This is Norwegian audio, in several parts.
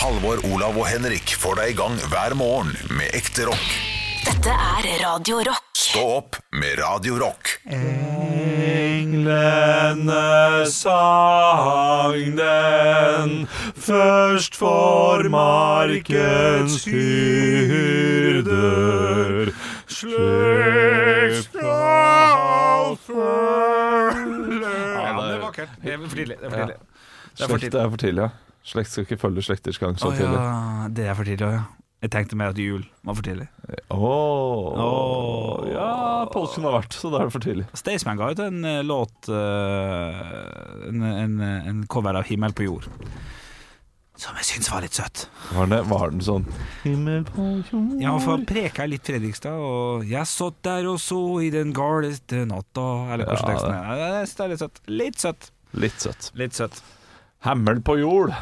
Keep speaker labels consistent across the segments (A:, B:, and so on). A: Halvor, Olav og Henrik får deg i gang hver morgen med ekte rock.
B: Dette er Radio Rock.
A: Stå opp med Radio Rock.
C: Englene eh, sang den først for markens hyrder. Slik skal følge
D: Ja, det er vakkert. Det er for tidlig. Det er for tidlig.
E: Slekt
D: Det er for tidlig.
E: er for tidlig, ja. Slekt skal ikke følge slekters gang så
D: Å
E: tidlig.
D: ja, det er for tidlig òg, ja. Jeg tenkte mer at jul var for tidlig.
E: Åh,
D: Åh.
E: Ja, påsken har vært, så da er det for tidlig.
D: Staysman ga ut en eh, låt eh, en, en, en cover av 'Himmel på jord'. Som jeg syns var litt søtt.
E: Var den, var den sånn Himmel på jord
D: Ja, for han preka litt Fredrikstad, og 'Jeg satt der og så i den galeste natta' Eller hvordan
E: Ja,
D: teksten er. Ja, det er litt søtt. Litt søtt.
E: Litt søtt.
D: Litt søtt.
E: Hammel på jord.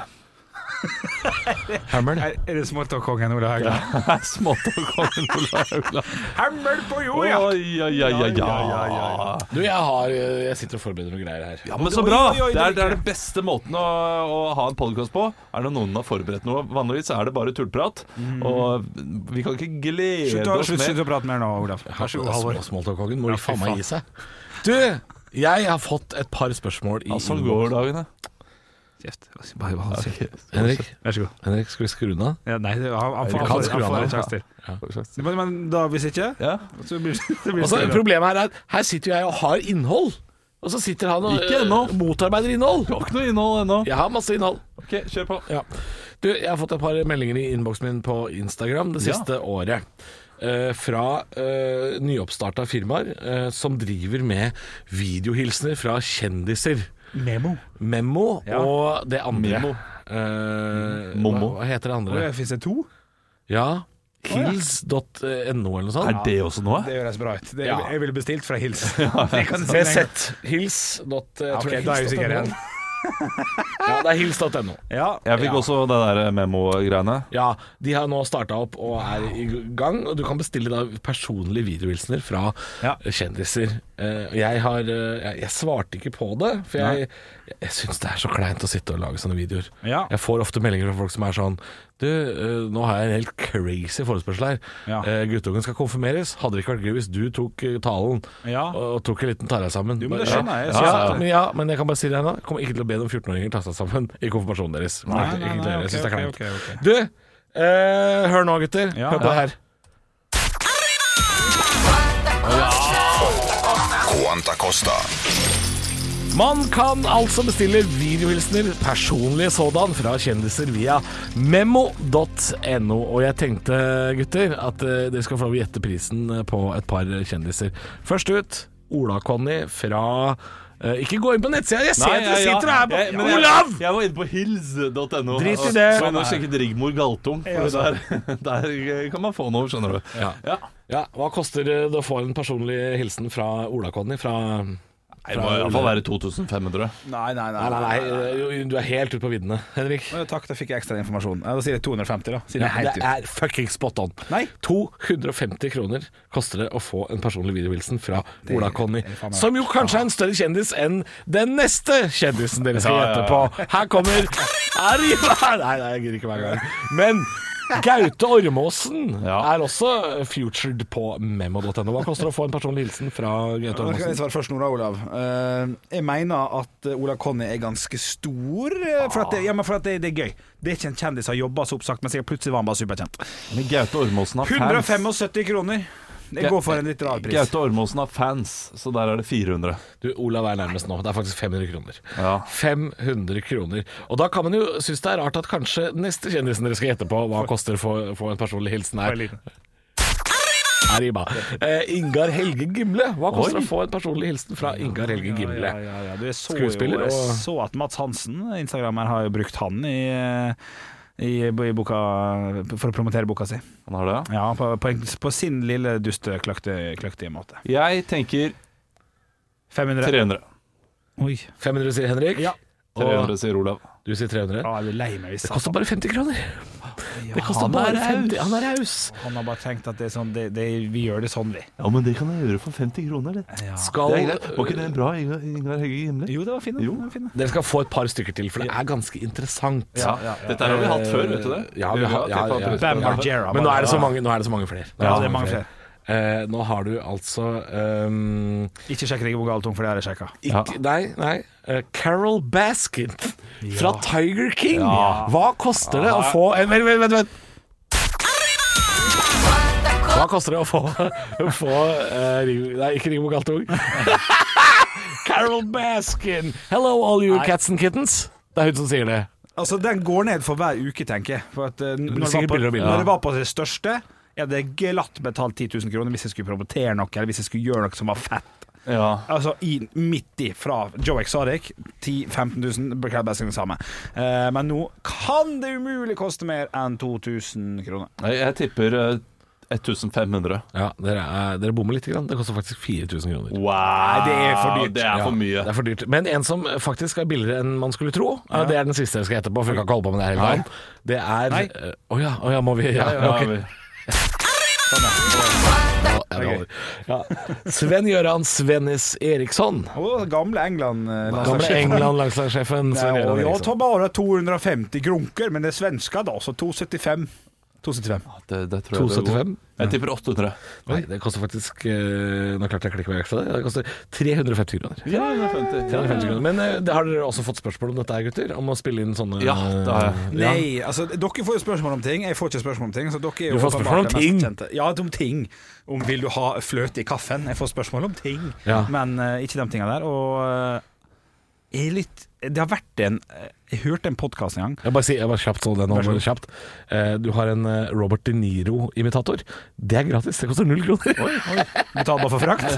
E: Hammel?
D: Er, er det småtåkongen Ola Haugland?
E: Smått og kongen Olav Haugland.
D: Hemmel på jord,
E: Oi,
D: ja!
E: ja, ja, ja, ja.
F: Du, jeg, har, jeg sitter og forbereder noen greier her.
E: Ja, men så
D: Oi,
E: bra!
D: oi, oi,
E: Det er, det er
D: det-
E: den beste måten å, å ha en podkast på. Er det noen har forberedt noe? Vanligvis er det bare tullprat. Og vi kan ikke glede
D: Slutt å,
E: oss
D: slutt, slutt
E: med
D: å prate mer nå, Olaf. Vær så god, Halvor.
F: Småtalkongen må
D: Ja,
F: jo faen
D: fy
F: meg
D: faen.
F: gi seg. Du, jeg har fått et par spørsmål i
E: ja, Sånn går dagene.
D: Kjeft. Bare hold kjeft.
F: Henrik,
D: Vær så god.
F: Henrik, skal vi skru den av?
D: Ja, nei, det- han, han får,
E: Du
D: han
E: kan
D: får,
F: skru
D: han
F: han
D: får
F: av,
D: en sjanse til. Men, men da, hvis ikke,
E: Ja.
D: så blir det blir
F: Altså,
D: stille.
F: problemet her er at her sitter jo jeg og har innhold, og så sitter han og
E: Ikke ennå.
F: øh, motarbeider innhold.
E: Du har ikke noe innhold ennå.
F: Jeg har masse innhold.
E: Ok, kjør på.
F: Ja. Du, jeg har fått et par meldinger i innboksen min på Instagram det
E: Ja.
F: siste året. eh, fra uh, nyoppstarta firmaer eh, som driver med videohilsener fra kjendiser.
D: Memo.
F: Memo
D: Ja.
F: og det andre.
E: Memo.
F: Eh,
E: Momo.
F: Hva, hva heter det
D: Oi,
F: andre?
D: Fins det to?
F: Ja. Hils.no eller noe sånt.
E: Er det også noe?
D: Det høres bra ut. Det,
F: Ja.
D: Jeg ville bestilt fra Hils. Det kan si
F: Med
D: en gang.
F: Z. Hils. Dot, jeg
D: Ja,
F: tror
D: ok,
F: det
D: da er jeg
F: hils.no.
D: usikker igjen.
F: Ja, det er hils.no.
D: Ja.
E: Jeg fikk
F: Ja.
E: også det der eh, memo-greiene.
F: Ja, de har nå starta opp og er i gang. Og du kan bestille da personlige videohilsener fra
D: Ja.
F: kjendiser. Eh, Jeg, har, eh, jeg, jeg svarte ikke på det, for jeg, jeg syns det er så kleint å sitte og lage sånne videoer.
D: Ja.
F: Jeg får ofte meldinger fra folk som er sånn Du, eh, nå har jeg en helt crazy forespørsel her.
D: Ja.
F: Eh, Guttungen skal konfirmeres. Hadde det ikke vært gøy hvis du tok eh, talen
D: Ja.
F: og og tok en liten tare sammen?
D: Jo, men det
F: Ja.
D: skjønner jeg. Jeg
F: Ja,
D: synes det er-
F: men, ja, men jeg kan bare si det her nå. Jeg kommer ikke til å be noen 14-åringer ta seg sammen i konfirmasjonen deres. Nei,
D: nei, nei,
F: jeg synes det er
D: ok,
F: kleint.
D: ok, ok, ok.
F: Du, eh, hør nå gutter
D: Ja.
F: Hør på det her
A: Quanta Costa.
F: Man kan altså bestille videohilsener Personlige sådan fra kjendiser via Memo.no Og jeg tenkte gutter At eh, dere skal få lov å gjette prisen eh, På et par kjendiser Først ut, Ola Conny fra eh, Ikke gå inn på nettsida Jeg ser at dere sitter her på
E: Jeg- men jeg-
F: Olav!
E: Jeg var inne på hills.no.
F: Drit i
E: Og-
F: det.
E: Så jeg nå sjekket Rigmor Galtung. For der, der kan man få noe, skjønner du.
F: Ja. Ja, hva koster det å få en personlig hilsen fra Ola Conny Fra...
E: Det må i hvert fall være 2500.
D: Nei, nei,
F: Nei,
D: nei.
F: nei, nei, du er helt ute på viddene, Henrik
D: Men Takk, da fikk jeg ekstra informasjon. Ja, Da sier jeg 250, da. Siden jeg er
F: Nei,
D: helt
F: det
D: ute.
F: er fucking spot on.
D: Nei.
F: 250 kroner koster det å få en personlig videohilsen fra Ola Conny.
D: er faen meg-
F: Som jo kanskje er en større kjendis enn den neste kjendisen dere skal
E: Ja, ja,
F: gjette på. Her kommer Arriva Nei, nei, jeg gidder ikke hver gang. Men Gaute Ormåsen
E: Ja.
F: er også featured på memo.no. Hva koster det å få en personlig hilsen fra Gaute
D: Da kan jeg
F: Ormåsen?
D: svare først nå, da, Olav. Eh, jeg mener at eh, Olav Conny er ganske stor. eh, For at det, ja, men for at det, det er gøy. Det er ikke en kjendis som har jobba så oppsagt, men sikkert plutselig var han bare superkjent.
E: Men Gaute Ormåsen har fans.
D: 175 kroner. Det går for en litt rar pris.
E: Gaute Ormåsen har fans, så der er det 400.
F: Du, Olav er nærmest nå. Det er faktisk 500 kroner.
E: Ja.
F: 500 kroner. Og da kan man jo synes det er rart at kanskje neste kjendisen dere skal gjette på, hva koster å få få en personlig hilsen her. Arriba. Eh, Ingar Helge Gimle. Hva koster
E: Oi.
F: det å få en personlig hilsen fra Ingar Helge Gimle?
D: Ja, ja, ja, Du, jeg så
F: Skuespiller
D: jo, jeg
F: og-
D: så at Mats Hansen, Instagrammer, har jo brukt han i, eh, i, i boka for å promotere boka si.
E: Han har det, ja.
D: Ja, på, på, en, på sin lille duste, kløkte, kløktige måte.
E: Jeg tenker
D: 500.
E: 300.
D: Oi.
F: 500 sier Henrik.
D: Ja.
F: Og
E: 300, sier Olav.
F: du sier 300.
D: Ah, jeg blir lei meg hvis
F: Det koster bare 50 kroner. Det koster
E: han er
F: bare
E: raus.
F: 50 Han er raus.
D: Han har bare tenkt at det er sånn, det, det, vi gjør det sånn, vi.
C: Ja, men det kan jeg gjøre for 50 kroner, det.
F: Skal,
E: Det er greit. Var ikke det en bra Ingar Ingar Hegge Gimle?
D: Jo, det var fint.
E: Jo.
D: det var fint.
F: Dere skal få et par stykker til, for det er ganske interessant.
E: Ja, Dette har vi hatt før, vet du det?
F: Ja, vi har- ja, ja.
D: Bam Margera.
F: Men nå er det så
D: bare-
F: mange, nå er det så mange flere. Nå
D: Ja,
F: så
D: det er mange flere.
F: Eh, nå har du altså ehm,
D: Ikke sjekk Rigmor Galtung, for det har jeg sjekka.
F: ikke, Nei, nei. eh, Carol Baskin fra Tiger King. Hva koster det å få eh, Vent, vent, vent! vent. Hva koster det å få, å få eh, Ring- Nei, ikke Rigmor Galtung. Carol Baskin! Hello, all you cats and kittens. Det er hun som sier det.
D: Altså, den går ned for hver uke, tenker jeg. For at, eh, når, det var
F: sikkert
D: på,
F: billigere og billigere.
D: når det var på det største, jeg hadde glatt betalt 10 000 kroner hvis jeg skulle promotere noe, eller hvis jeg skulle gjøre noe som var fett.
E: Ja.
D: Altså i, midt i fra Joe Exotic, 10 000-15 000, beklager best det samme. Eh, men nå kan det umulig koste mer enn 2000 kroner.
E: Nei, jeg tipper eh, 1500.
F: Ja, dere, er, dere bommer litt. Grann. Det koster faktisk 4000 kroner.
E: Wow! det er for dyrt. Det er for mye.
F: Det er for dyrt. Men en som faktisk er billigere enn man skulle tro, eh, det er den siste jeg skal etterpå, for vi kan ikke holde på med det hele dagen. Det er
D: Nei.
F: eh, Å ja, å ja, må vi Ja,
E: Ja,
F: ok.
E: vi-
F: Ja, ja, vi holder. ja. Sven Gøran Svennis Eriksson.
D: Og gamle England. eh,
F: Gamle Sånn
D: landslagssjefen.
F: England-landslagssjefen
D: Ja,
F: Sven Gøran
D: og jeg
F: Eriksson.
D: tar bare 250 grunker, men det er svenska da, så 275. 275.
E: det, det tror jeg det er god.
F: 275?
E: Jeg tipper 800.
F: Nei, det koster faktisk eh, Nå klarte jeg ikke å klikke meg vekk fra det. Det koster 350 kroner.
E: Ja, det er 50.
F: 350 kroner. Men eh, det har dere også fått spørsmål om dette, her, gutter? Om å spille inn sånne
E: Ja, det har jeg.
F: Ja.
D: Nei, altså dere får jo spørsmål om ting. Jeg får ikke spørsmål om ting. Så dere er
F: Du
D: jo
F: får
D: åpenbart
F: spørsmål om
D: det mest
F: ting.
D: kjente. Ja, om ting. Om vil du ha fløte i kaffen? Jeg får spørsmål om ting,
F: Ja.
D: men eh, ikke de tinga der. Og eh, jeg er litt Det har vært en eh, Jeg hørte en podkast en gang.
F: Jeg bare, sier- jeg bare kjapt så den
D: Vær så
F: over
D: god.
F: kjapt. Eh, Du har en eh, Robert De Niro-imitator. Det er gratis, det koster null kroner.
D: Betal bare for frakt.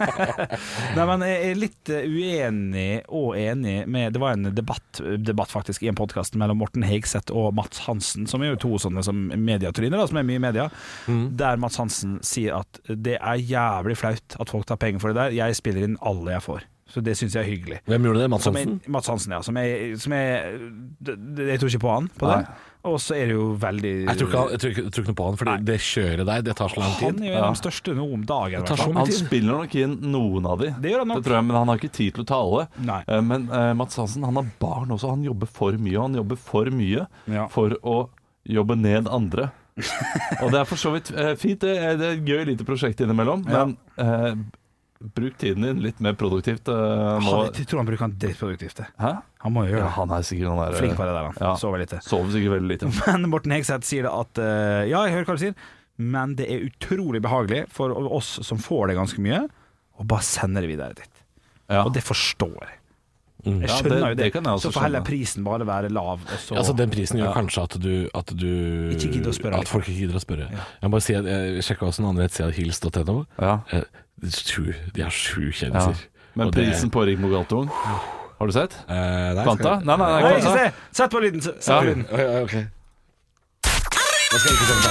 D: Nei, men jeg er litt eh, uenig og enig med Det var en debatt, debatt faktisk i en podkast mellom Morten Hegseth og Mats Hansen, som er jo to sånne som medietryner, da, som er mye i media,
F: Mm.
D: der Mats Hansen sier at det er jævlig flaut at folk tar penger for det der. Jeg spiller inn alle jeg får. Så det syns jeg er hyggelig.
F: Hvem gjorde det? Mads
D: Som er,
F: Hansen?
D: Mats Hansen, ja. Som er, som er det- det- Jeg tror ikke på han på det. Og så er det jo veldig
F: Jeg tror ikke, han- jeg tror ikke, jeg tror ikke noe på han, for det, det kjøret der, det tar så lang
D: Han
F: tid.
D: er jo en av de største nå om dagen. i hvert
F: tar
D: fall.
F: så
E: Han,
F: mye
E: han
F: tid.
E: spiller nok inn noen av de.
D: Det gjør han nok.
E: tror jeg, Men han har ikke tid til å ta alle.
D: Nei.
E: Eh, Men eh, Mats Hansen han har barn også. Han jobber for mye, og han jobber for mye
D: Ja.
E: for å jobbe ned andre. og det er for så vidt eh, fint. Det er, det er et gøy lite prosjekt innimellom, men eh, bruk tiden din litt mer produktivt eh, nå.
D: Han, jeg tror han bruker han drittproduktivt. det.
E: Hæ?
D: Han må jo gjøre
E: Ja,
D: det.
E: han er sikkert han er,
D: Flink på det der, han.
E: Ja.
D: Sover lite.
E: Sover sikkert veldig lite.
D: Men Morten Hegseth sier det at eh, Ja, jeg hører hva du sier, men det er utrolig behagelig for oss som får det ganske mye, å bare sende det videre dit.
E: Ja. Mm.
D: Og det forstår jeg. Jeg
E: Ja,
D: skjønner
E: det-
D: jo det.
E: det kan jeg også
D: så får heller
E: skjønne.
D: prisen bare være lav, og så
F: Altså Den prisen gjør kanskje at du, at du
D: Ikke gidder å spørre,
F: At folk ikke gidder å spørre. Jeg må bare si at jeg sjekka også en annen nettside, hils.no.
E: Ja.
F: Eh, det er sju- De har sju
E: Ja.
F: kjendiser.
E: Men
F: Og det-
E: prisen på Rigmor Galtung, har du sett?
F: Eh, nei, skal-
E: Kvanta? Nei, nei, nei,
D: Nei,
E: Kvanta.
D: ikke se! Sett på lyden! Sett
E: Ja.
D: på lyden.
F: Oi, oi, ok. Jeg skal ikke sende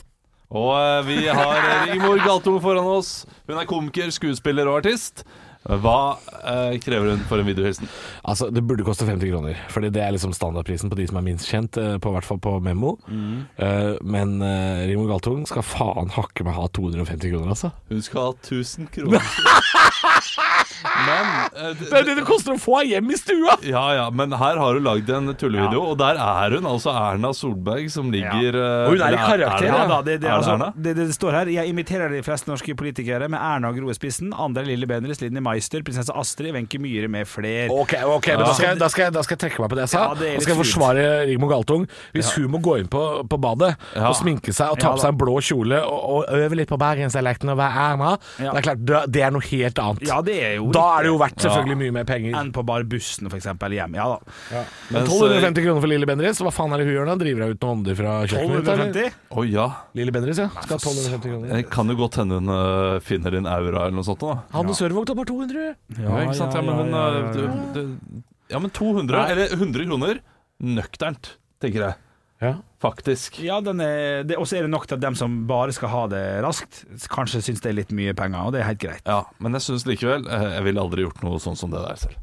F: det.
E: Og eh, vi har Rigmor Galtung foran oss. Hun er komiker, skuespiller og artist. Hva eh, krever hun for en videohilsen?
F: Altså, Det burde koste 50 kroner, Fordi det er liksom standardprisen på de som er minst kjent, eh, på, i hvert fall på Memo. Eh, men uh, Rigmor Galtung skal faen hakke meg ha 250 kroner, altså.
E: Hun skal ha 1000 kroner. Men eh, d-
F: det det koster å få henne hjem i stua!
E: ja, ja, men her har hun lagd en tullevideo, og der er hun, altså Erna Solberg, som ligger eh,
F: Og hun er i
E: eller
F: karakter,
E: Erna,
D: Ja
F: Ja.
D: da, det, det,
E: Er
D: altså,
E: Erna?
D: det, det står her Jeg imiterer de fleste norske politikere med Erna og Gro i spissen, André Lille Bendriss, Linni Meister, prinsesse Astrid, Wenche Myhre med flere.
F: Ok, ok, men da skal, jeg, da, skal jeg, da skal jeg trekke meg på det jeg sa.
D: Ja, det er
F: da skal jeg
D: litt
F: forsvare Rigmor Galtung. Hvis hun må gå inn på, på badet
E: Ja.
F: og sminke seg og ta
D: Ja,
F: på
D: da.
F: seg en blå kjole og, og øve litt på bergensdialekten og være Erna,
D: Ja.
F: det er klart, da- det er noe helt annet.
D: Ja, det er jo
F: da
D: riktig.
F: er det jo verdt selvfølgelig mye mer penger.
D: enn på bare bussen, for eksempel, hjem. Ja da.
E: Mens, eh,
F: 1250 kroner for Lille Bendriss. Hva faen er det hun gjør da? Driver hun ut noen ånder fra kjøkkenet? mitt, eller?
D: 1250?
E: Å ja.
F: Lille Bendriss, ja. Skal ha 1250 kroner.
E: Det kan jo godt hende hun eh, finner din aura eller noe sånt. da
F: Hanne Sørvåg tar bare 200.
E: Ja, ikke sant? Ja, men, hun,
D: ja, ja,
E: eh, du- du- ja, men 200, eller 100 kroner, nøkternt, tenker jeg.
F: Ja.
E: Faktisk.
D: Ja, den er, det, og så er det nok til at dem som bare skal ha det raskt, kanskje syns det er litt mye penger, og det er helt greit.
E: Ja, men jeg syns likevel eh, Jeg ville aldri gjort noe sånn som det der selv.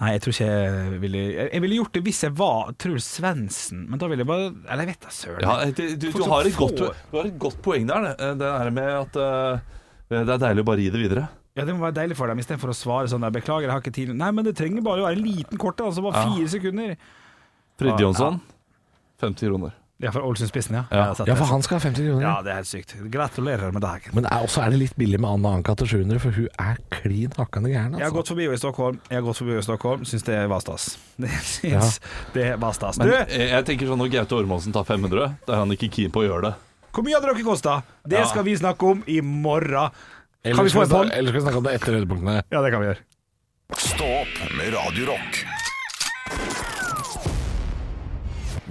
D: Nei, jeg tror ikke jeg ville Jeg ville gjort det hvis jeg var Truls Svendsen, men da ville jeg bare Eller jeg vet da søren.
E: Ja, du, du, du, har et godt, du har et godt poeng der, det, det der med at eh, det er deilig å bare gi det videre.
D: Ja, Det må være deilig for dem, istedenfor å svare sånn der 'Beklager, jeg har ikke tid'. Nei, men det trenger bare å være en liten kort, altså bare fire sekunder.
E: Fredrik Jonsson, 50 kroner.
D: Ja, for Ålesundspissen, ja.
E: Ja.
D: Jeg har sett
F: Ja,
D: det.
F: for han skal ha 50 kroner.
D: ja, det er helt sykt. Gratulerer med dagen.
F: Men er, også er det litt billig med Anna Anka til 700, for hun er klin hakkande gæren.
D: Jeg har
F: Altså.
D: gått forbi henne i Stockholm, Jeg har gått forbi henne i Stockholm syns det var stas. Det syns det var stas.
E: Men
D: Du,
E: jeg, jeg tenker sånn når Gaute Ormåsen tar 500, da er han ikke keen på å gjøre det.
D: hvor mye hadde dere kosta? Det
E: Ja.
D: skal vi snakke om i morgen. Kan
F: Eller
D: vi få
F: skal,
D: en
F: vi
D: poll?
F: snak- eller skal vi snakke om det etter høydepunktene?
D: Ja, det kan vi gjøre.
A: Stå opp med Radio Rock.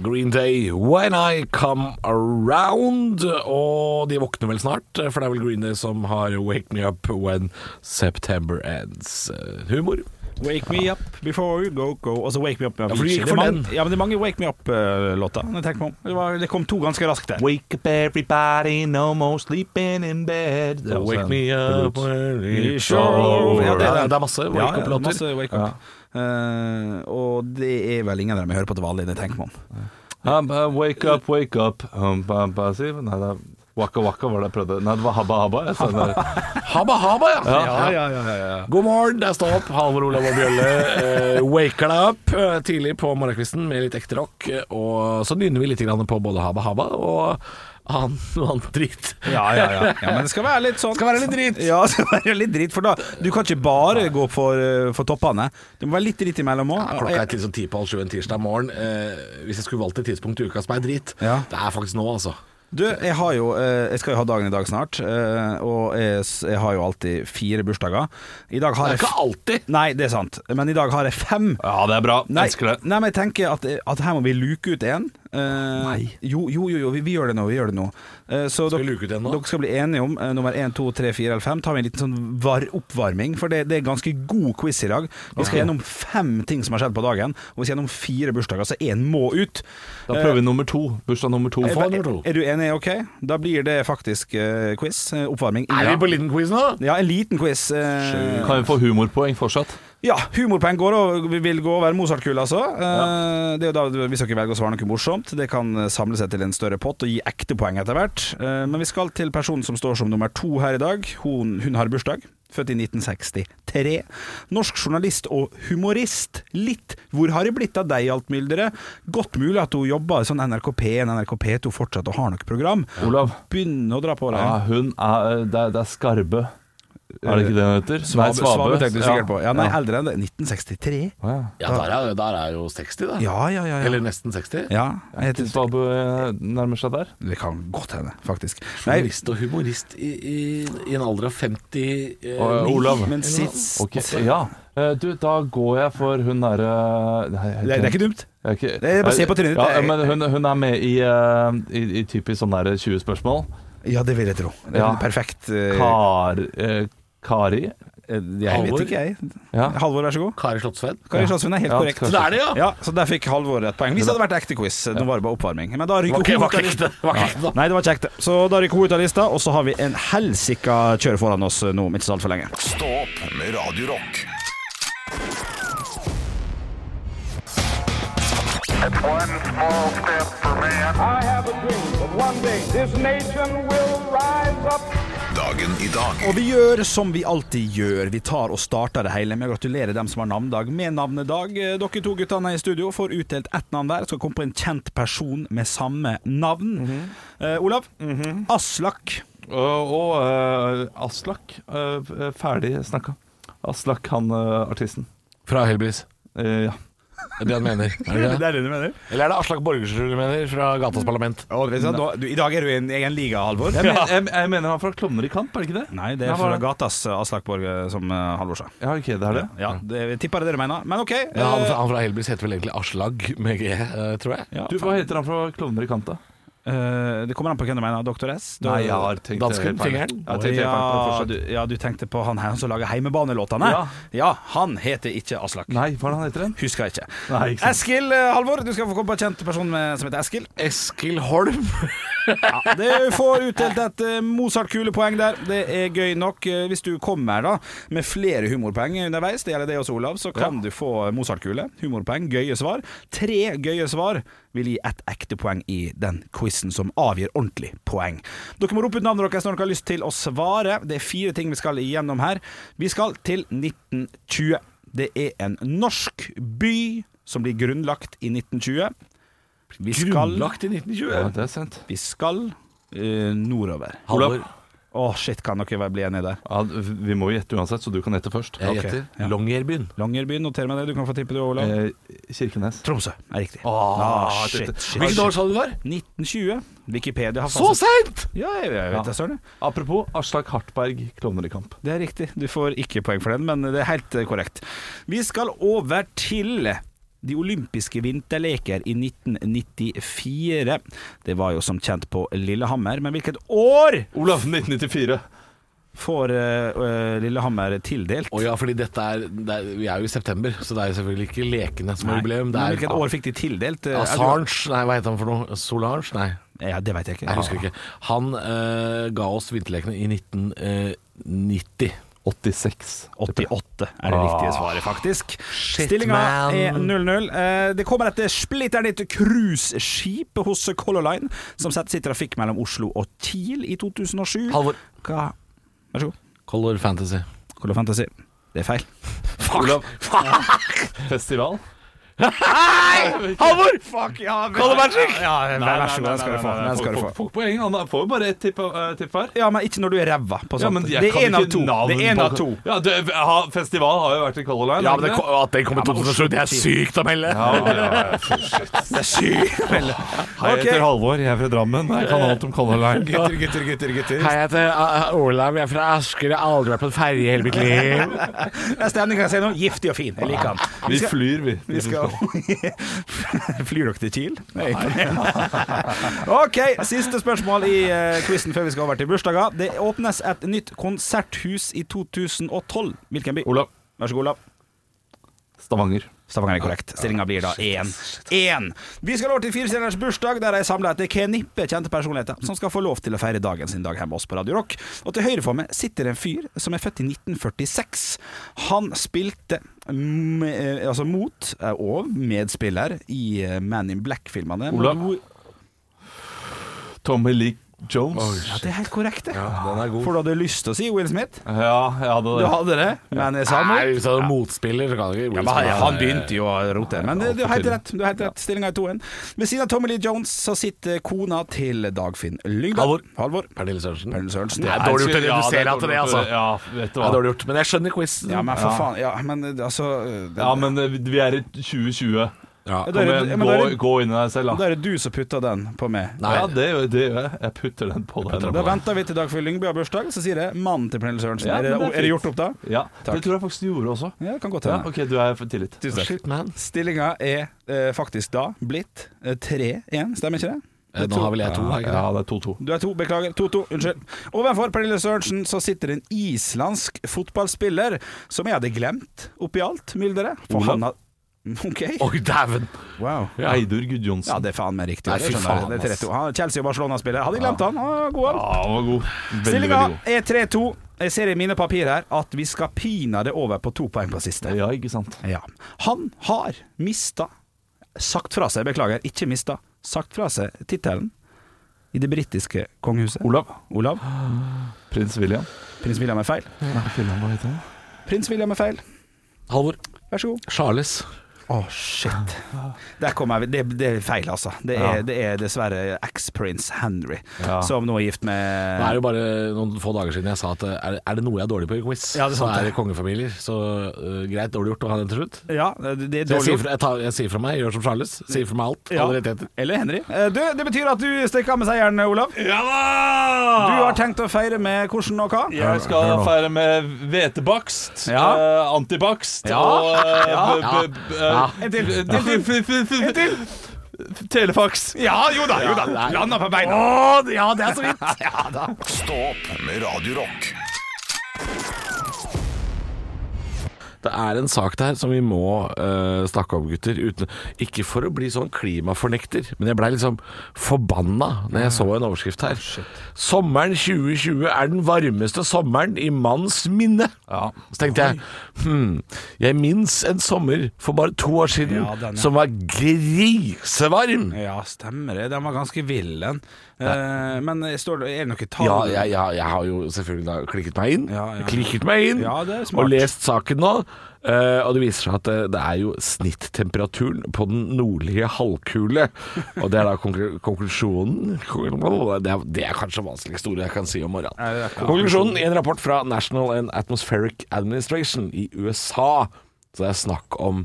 F: Green Day, When I Come Around. Og de våkner vel snart, for det er vel Green Day som har Wake Me Up When September Ends. Eh, Humor.
D: Wake me up before you go go. Og så Wake me up med
F: Ja, for du
D: Avicii.
F: gikk
D: Det er
F: for
D: mange-
F: den.
D: Ja, men det er mange Wake me up-låter. Det, var- det kom to ganske raskt der.
E: Wake up everybody, no more sleeping in bed. Det er også
F: Wake
E: en
F: me up
E: pilot.
F: when
D: Ja,
F: you
E: sure.
F: Ja, det, er,
D: den.
F: det er masse
D: Ja,
F: wake
D: ja,
F: up-låter.
D: masse wake up. Eh, og det er vel ingen av dem jeg hører på til vanlig, det tenker man.
E: Um, uh, wake up, wake up. Um, ba, ba, si. Nei, det er Waka Waka var det jeg prøvde. Nei, det var Habba Habba. Jeg sa det.
F: Habba habba, ja.
E: Ja,
F: God morgen, det er Stå opp. Halvor Olav og Bjølle eh, waker deg opp eh, tidlig på morgenkvisten med litt ekte rock. eh, Og så nynner vi litt grann på både Habba Habba og annen annen dritt.
D: Ja, ja, ja. ja men det skal være litt sånn
F: Skal være litt dritt.
D: Ja, det skal være litt dritt For da Du kan ikke bare gå for, eh, for toppene Det må være litt dritt imellom
F: Ja,
D: også
F: klokka er til sånn ti på halv sju en tirsdag morgen. Eh, hvis jeg skulle valgt et tidspunkt i uka som er dritt,
D: Ja.
F: det er faktisk nå, altså.
D: Du, jeg har jo eh, Jeg skal jo ha dagen i dag snart eh, Og jeg, s- jeg har jo alltid fire bursdager I dag
F: Det
D: har
F: er
D: jeg
F: ikke
D: f-
F: alltid.
D: Nei, det er sant Men i dag har jeg fem
E: ja, det er bra.
D: Nei,
E: Elsker det.
D: nei, men jeg tenker at, at her må vi luke ut en Eh, Jo, jo, jo, jo vi, vi gjør det nå, vi gjør det nå Eh, Så
F: Skal vi
D: dere-
F: luke ut en nå?
D: Dere skal bli enige om eh, nummer 1, 2, 3, 4 eller 5 Tar vi en liten sånn var oppvarming For det, det er ganske god quiz i dag Vi skal gjennom fem ting som har skjedd på dagen Og vi skal gjennom fire bursdager, så en må ut
E: Da prøver vi nummer to. Bursdag nummer to.
F: Få nummer
D: er,
F: to.
D: er du enig? Ok, da blir det faktisk eh, quiz eh, Oppvarming
F: Er vi
D: ja.
F: på liten quiz nå?
D: ja, en liten quiz eh,
E: Kan vi få humorpoeng fortsatt?
D: ja, humorpoeng går og vi vil gå over Mozart-kula, altså. Eh, Det er jo da, hvis dere velger å svare noe morsomt, det kan eh, samle seg til en større pott og gi ekte poeng etter hvert. Eh, Men vi skal til personen som står som nummer to her i dag. Hun, hun har bursdag. Født i 1963. Norsk journalist og humorist. Litt 'Hvor har det blitt av deg, Altmyldere?' Godt mulig at hun jobber i sånn NRK P1, NRK P2 fortsatt og har noe program.
E: Olav?
D: Begynner å dra på
E: Ja,
D: det.
E: hun er eh, Det er, det er Skarbe. Er det ikke det hun heter? Nei,
D: Svabe tenkte du sikkert
E: Ja.
D: på. Ja, nei, eldre enn det. 1963.
E: Å, ja.
F: Ja, der er, der er jo 60, da.
D: Ja, ja, ja. ja.
F: Eller nesten 60.
D: ja, jeg
E: Til
D: heter
E: Svabe eh, nærmer seg der.
D: Det kan godt hende, faktisk. Nei,
F: Journalist og humorist i, i, i en alder av 50 eh,
E: Og, eh,
F: ni.
E: Olav.
D: men sist
E: Ok, ja. Eh, Du, da går jeg for hun derre Nei, jeg-
D: det, det er ikke dumt.
E: jeg er ikke-
D: Det er bare å se på trynet ditt.
E: Ja, men hun, hun er med i, eh, i, i typisk sånn der 20 spørsmål.
D: Ja, det vil jeg tro. Det er
E: Ja.
D: en perfekt eh,
E: Kar, eh, Kari?
D: eh, Jeg
F: Halvor?
D: vet ikke, jeg.
E: Ja.
D: Halvor, vær så god.
F: Kari Slottsveen.
D: Kari Slottsveen er helt
E: Ja,
D: korrekt.
E: kanskje.
F: Så det er det, ja!
D: Ja, så der fikk Halvor et poeng. Hvis det hadde vært ekte quiz, nå var det bare oppvarming. Men da ryker
F: Ok,
D: hun
F: var
D: ut av
F: ikke
D: lista.
F: ekte. Var ikke ekte, da.
D: Nei, det var ikke ekte. Så da ryker hun ut av lista, og så har vi en helsika kjør foran oss nå om ikke så altfor lenge.
A: Stå opp med Radio Rock.
G: One small step for man. I have a dream that one day this nation will rise up.
A: Dagen i dag.
D: Og vi gjør som vi alltid gjør. Vi tar og starter det hele med å gratulere dem som har navnedag med navnedag. Eh, Dere to guttene i studio får utdelt ett navn hver. Skal komme på en kjent person med samme navn. eh, Olav. Aslak.
E: Og, og eh, Aslak. eh, f- ferdig snakka. Aslak, han eh, artisten.
F: Fra Helbris.
E: Eh, ja.
F: Det er det han mener. Er det det?
D: er det du mener?
F: Eller er det Aslak Borgersrud du mener, fra Gatas Parlament?
D: I dag er du i en egen liga, Halvor.
E: Jeg, men, jeg, jeg mener han er fra Klovner i kamp, er det ikke det?
D: Nei, det
E: Nei,
D: er
E: var
D: fra
E: det-
D: gatas eh, Aslak Borg, eh, som eh, Halvor sa.
E: Ja, ok, det er det.
D: Ja, det, jeg tipper det dere mener. Men OK.
F: Ja, han,
D: eh,
F: fra, han fra Helbris heter vel egentlig Aslag med G, eh, tror jeg.
D: ja,
E: Du, Hva heter han fra Klovner i kamp, da?
D: eh, det kommer an på hvem du mener. Doktor S? Da-
E: tenkt
F: Dansken, fingeren.
E: Jeg
D: Å,
E: tenkte helt feil på det
D: ja,
E: fortsatt.
D: du, ja, du tenkte på han her som lager heimebanelåtene? Ja.
E: Ja.
D: han heter ikke Aslak.
E: Nei, hva er det han heter igjen?
D: Husker jeg ikke.
E: Nei, ikke sant.
D: Eskil eh, Halvor, du skal få komme på en kjent person med, som heter Eskil.
F: Eskil Holm.
D: Ja, det får utdelt et eh, Mozart-kulepoeng der. Det er gøy nok. Eh, Hvis du kommer da med flere humorpoeng underveis, det gjelder det også, Olav, så kan du få Mozart-kule, humorpoeng, gøye svar. Tre gøye svar vil gi ett ekte poeng i den quizen som avgir ordentlig poeng. Dere må rope ut navnet deres når dere har lyst til å svare. Det er fire ting vi skal igjennom her. Vi skal til 1920. Det er en norsk by som blir grunnlagt i 1920. Vi skal
F: Grunnlagt i 1920.
E: Ja, det er sent.
D: vi skal eh, nordover. Å,
E: Olav.
D: shit, kan dere være- bli enige der?
E: Ja, vi må jo gjette uansett, så du kan gjette først.
F: Jeg
D: Ok,
F: gjetter
D: ja.
F: Longyearbyen.
D: Longyearbyen, noter meg det. Du kan få tippe du, Olav.
E: Eh, Kirkenes.
D: Tromsø er riktig.
E: Ah,
D: Ah,
E: dette-
D: shit, shit.
F: Hvilket år sa du det var?
D: 1920. Wikipedia har
F: Så seint!
D: Ja, jeg, jeg vet det, søren.
E: Apropos Aslak Hartberg, klovner i kamp.
D: Det er riktig. Du får ikke poeng for den, men det er helt eh, korrekt. Vi skal over til de olympiske vinterleker i 1994. Det var jo som kjent på Lillehammer, men hvilket år
E: Olav, 1994.
D: får eh, eh, Lillehammer tildelt?
F: Å ja, fordi dette er, det er Vi er jo i september, så det er jo selvfølgelig ikke lekene som
D: Nei.
F: er jubileum. Ah. Det
D: Men
F: er
D: hvilket år fikk de tildelt? Eh, er du-
F: Assange Nei, hva heter han for noe? Solange? Nei,
D: Ja, det veit jeg ikke.
F: jeg husker ikke. Han eh, ga oss vinterlekene i eh, 1990.
E: 86.
D: 88 er det riktige svaret, faktisk.
F: Shit,
D: Stillinga
F: man.
D: er 0-0. Eh, Det kommer et splitter nytt cruiseskip hos Color Line, som settes i trafikk mellom Oslo og Kiel i 2007.
F: Halvor.
D: Hva? Vær så god.
F: Color Fantasy.
D: Color Fantasy. Det er feil.
E: Olav. Festival?
F: Halvor!
D: Fuck, ja,
F: Color Magic!
D: vær så god, den skal du få. Den skal
E: Folk-
D: du få.
E: folk- folk poeng. Han får jo bare ett tipp, eh, tipp her.
D: Ja, men ikke når du er ræva på sånt.
E: Ja, men jeg
D: Sånn, det
E: kan
D: er én av
E: ikke
D: to. Det er
E: navn
D: en
E: på-
D: av to.
E: Ja, det, ha, festival har jo vært i Color Line.
F: Ja,
E: har
F: men det,
E: den ikke det?
F: At den kom i 2007, det er sykt å melde!
E: Ja, ja, ja, ja.
D: Det er sykt. Vel,
E: Hei, jeg heter
D: Ok.
E: Halvor, jeg er fra Drammen. Jeg kan alt om Color Line.
A: Gutter, gutter, gutter, gutter.
F: Hei, jeg heter uh, Olav, jeg er fra Asker, jeg har aldri vært på en ferje i hele mitt liv.
D: Neste emne kan jeg si noe. Giftig og fin. Jeg liker han.
E: Vi flyr, vi.
D: Vi skal Flyr dere til Kiel? Nei, OK, siste spørsmål i eh, quizen før vi skal over til bursdager. Det åpnes et nytt konserthus i 2012. Hvilken by?
E: Olav.
D: Vær så god, Olav.
E: Stavanger.
D: Stavanger er korrekt. Stillinga blir da 1-1. Vi skal over til firestjerners bursdag, der jeg samla et knippe kjente personligheter som skal få lov til å feire dagen sin dag hjemme hos oss på Radio Rock. Og til høyre for meg sitter en fyr som er født i 1946. Han spilte mm, eh, altså mot eh, og medspiller i eh, Man in Black-filmene.
E: Olav.
D: Mo-
E: Tommy Lee Jones.
D: Ja, det er helt korrekt, det.
F: Den er god.
D: For du hadde lyst til å si Will Smith?
E: ja, jeg hadde
D: Du
E: det.
D: hadde det, men jeg sa
F: Nei,
D: noe.
F: hvis du er motspiller, så kan du ikke
D: Ja, men han-
E: eh,
D: han begynte jo å rote. Men det- du har helt
E: fortell.
D: rett. Du har helt rett. Stillinga er 2-1. Ved siden av Tommy Lee Jones så sitter kona til Dagfinn Lyngdal.
F: Halvor.
D: Halvor.
F: Pernille Sørensen.
D: Pernille Sørensen.
F: Det er dårlig gjort å
E: Ja, det er
F: redusere han til det,
E: dårlig
F: altså.
E: gjort å- Ja, vet du
F: Det er
E: hva.
F: dårlig gjort, men jeg skjønner quizen.
D: Ja, men for faen. Ja, men eh, altså det-
E: Ja, men eh, vi er i 2020.
F: Ja.
D: Da
E: Kom
D: er det-
E: igjen,
D: ja, men da
E: gå,
D: er det-
E: gå inn i deg selv,
D: Da
E: da.
D: er det du som putter den på meg.
F: Nei.
E: Ja, det gjør det gjør jeg. Jeg putter den på deg.
D: Da venter vi til Dagfinn Lyngby har bursdag, så sier jeg mannen til Pernille Sørensen.
E: Ja,
D: er, det,
E: men det er
D: er det
E: fint.
D: gjort opp da?
E: Ja,
D: Takk.
E: det tror jeg faktisk du gjorde også.
D: Ja, det kan godt
E: Ja,
D: hende.
E: OK, du er for tillit.
D: Tusen takk.
F: Shit, man.
D: Stillinga er eh, faktisk da blitt eh, 3-1, stemmer ikke det?
F: Eh,
D: Det
F: Nå
D: tror-
F: har vel jeg to, har jeg ikke
E: Ja, det er 2-2.
D: Du er to, beklager. 2-2, unnskyld. Ovenfor Pernille Sørensen så sitter en islandsk fotballspiller som jeg hadde glemt oppi alt mylderet. For
E: Olav?
D: han har OK.
F: det? Oi, dæven!
D: Wow.
E: Eidur
D: Ja,
E: Gudjonsen.
D: det er faen meg riktig.
F: Nei,
D: det
F: fy
D: skjønner jeg.
F: faen,
D: det er 3-2. Han er Chelsea- og Barcelona-spiller. Hadde glemt han. han. er God han.
E: Ja, han var god. Veldig, veldig
D: Stillinga
E: god.
D: er 3-2. Jeg ser i mine papirer her at vi skal pinadø over på to poeng på siste.
E: Ja, ikke sant.
D: Ja. Han har mista Sagt fra seg, beklager, ikke mista. Sagt fra seg tittelen i det britiske kongehuset.
E: Olav.
D: Olav.
E: Prins William.
D: Prins William er feil.
E: Hva heter han?
D: Prins William er feil.
F: Halvor.
D: Vær så god.
F: Charles.
D: Å, shit. Der kom jeg, det, det er feil, altså. Det er, det er dessverre eks-prins Henry,
E: Ja.
D: som nå er gift med
F: Det er jo bare noen få dager siden jeg sa at eh, er, er det noe jeg er dårlig på i quiz,
D: Ja, det er
F: så
D: sant,
F: er
D: det.
F: det kongefamilier. Så eh, greit, dårlig gjort å ha den til slutt.
D: Ja, det det er
F: Så jeg
D: dårlig
F: sier,
D: gjort.
F: fra, jeg, tar, jeg sier fra meg, jeg gjør som Charles. Sier fra meg alt.
D: Ja.
F: Alle rettigheter.
D: Eller Henry. Eh, Du, det betyr at du stikker av med seieren, Olav.
E: Ja da!
D: Du har tenkt å feire med hvordan og hva?
E: Jeg skal feire med hvetebakst,
D: Ja.
E: eh, antibakst
D: Ja.
E: og eh,
D: Ja.
E: b- b- b-
F: Ja.
E: eh,
D: En til.
E: f-
D: En til.
E: f- f- f-
D: En til.
E: Telefax.
D: Ja, jo da, jo da.
F: Ja, nei.
D: Landa på beina.
F: ja, det er så vidt!
A: Stå opp med Radio Rock.
F: Det er en sak der som vi må eh, snakke om, gutter. Uten, ikke for å bli sånn klimafornekter, men jeg blei liksom forbanna når jeg så en overskrift her. Sommeren 2020 er den varmeste sommeren i manns minne. Så tenkte jeg hmm, Jeg minnes en sommer for bare to år siden
D: Ja, den, ja.
F: som var grisevarm.
D: Ja, stemmer det. Den var ganske vill, den. Eh, men står det, er det noe tall?
F: Ja, jeg, jeg, jeg har jo selvfølgelig da klikket meg inn.
D: Ja, ja.
F: Klikket meg inn
D: Ja, det er smart.
F: og lest saken nå. eh, og det viser seg at det, det er jo snittemperaturen på den nordlige halvkule. Og det er da konklu- konklusjonen det er, det er kanskje det vanskeligste ordet jeg kan si om morgenen.
D: Nei, det er ikke-
F: Konklusjonen i en rapport fra National and Atmospheric Administration i USA. Så det er snakk om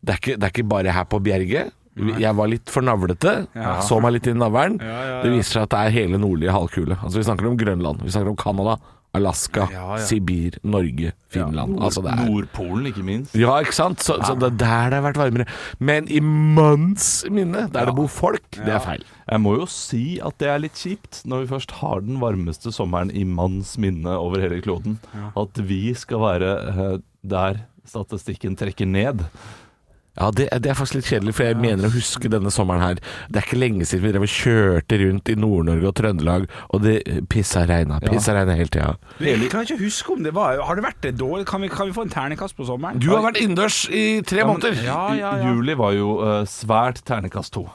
F: Det er ikke, det er ikke bare her på Bjerget. Jeg var litt for navlete,
D: Ja.
F: så meg litt i navlen.
D: Ja, ja, ja.
F: Det viser seg at det er hele nordlige halvkule. Altså Vi snakker om Grønland, vi snakker om Canada, Alaska,
D: Ja, ja.
F: Sibir, Norge, Finland. altså det er
E: Nordpolen, ikke minst.
F: ja, ikke sant? Så, så det er der det har vært varmere. Men i manns minne, der det bor folk, det er feil.
E: Jeg må jo si at det er litt kjipt når vi først har den varmeste sommeren i manns minne over hele kloden. At vi skal være eh, der statistikken trekker ned.
F: Ja, det, er- det er faktisk litt kjedelig, for jeg mener å huske denne sommeren her. Det er ikke lenge siden vi drev og kjørte rundt i Nord-Norge og Trøndelag, og det pissa regna. Pissa regna hele tida.
D: Jeg kan ikke huske om det var Har det vært det dårlig? Kan vi, kan vi få en ternekast på sommeren?
F: Du har vært innendørs i tre måneder.
D: Ja, ja, ja.
E: Juli var jo eh, svært ternekast to.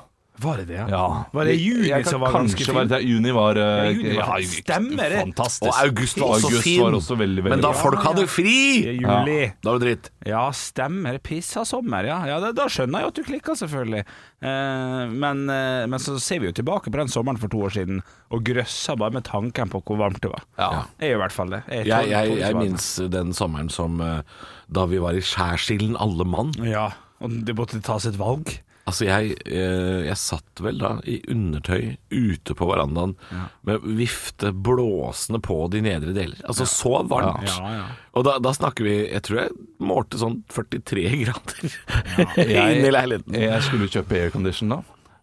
D: Var det det? ja?
E: Ja.
D: Var det juni
E: Jeg kan
D: som var
E: kanskje
D: ganske fin?
E: være- Juni var, eh,
D: Ja, juni var-
E: ja,
D: stemmer det.
E: Fantastisk.
F: Og august var også
E: august
F: fin.
E: Var også veldig, veldig
F: Men da
E: bra.
F: folk hadde
D: I
F: fri!
D: Juli. Ja.
F: Da var det dritt.
D: stemmer. Pissa sommer, ja. ja da, da skjønner jeg jo at du klikker, selvfølgelig. Eh, men, eh, men så ser vi jo tilbake på den sommeren for to år siden og grøsser bare med tanken på hvor varmt det var.
F: Ja.
D: Jeg gjør i hvert fall det. Jeg, tåler
F: Jeg, jeg, jeg
D: ikke varme.
F: minnes den sommeren som eh, da vi var i skjærsilden, alle mann.
D: Ja, og det måtte tas et valg.
F: Altså, jeg, eh, jeg satt vel da i undertøy ute på verandaen med vifte blåsende på de nedre deler. Altså, så varmt.
D: Ja, ja.
F: Og da, da snakker vi Jeg tror jeg målte sånn 43 grader inne i leiligheten.
E: Jeg skulle kjøpe aircondition da,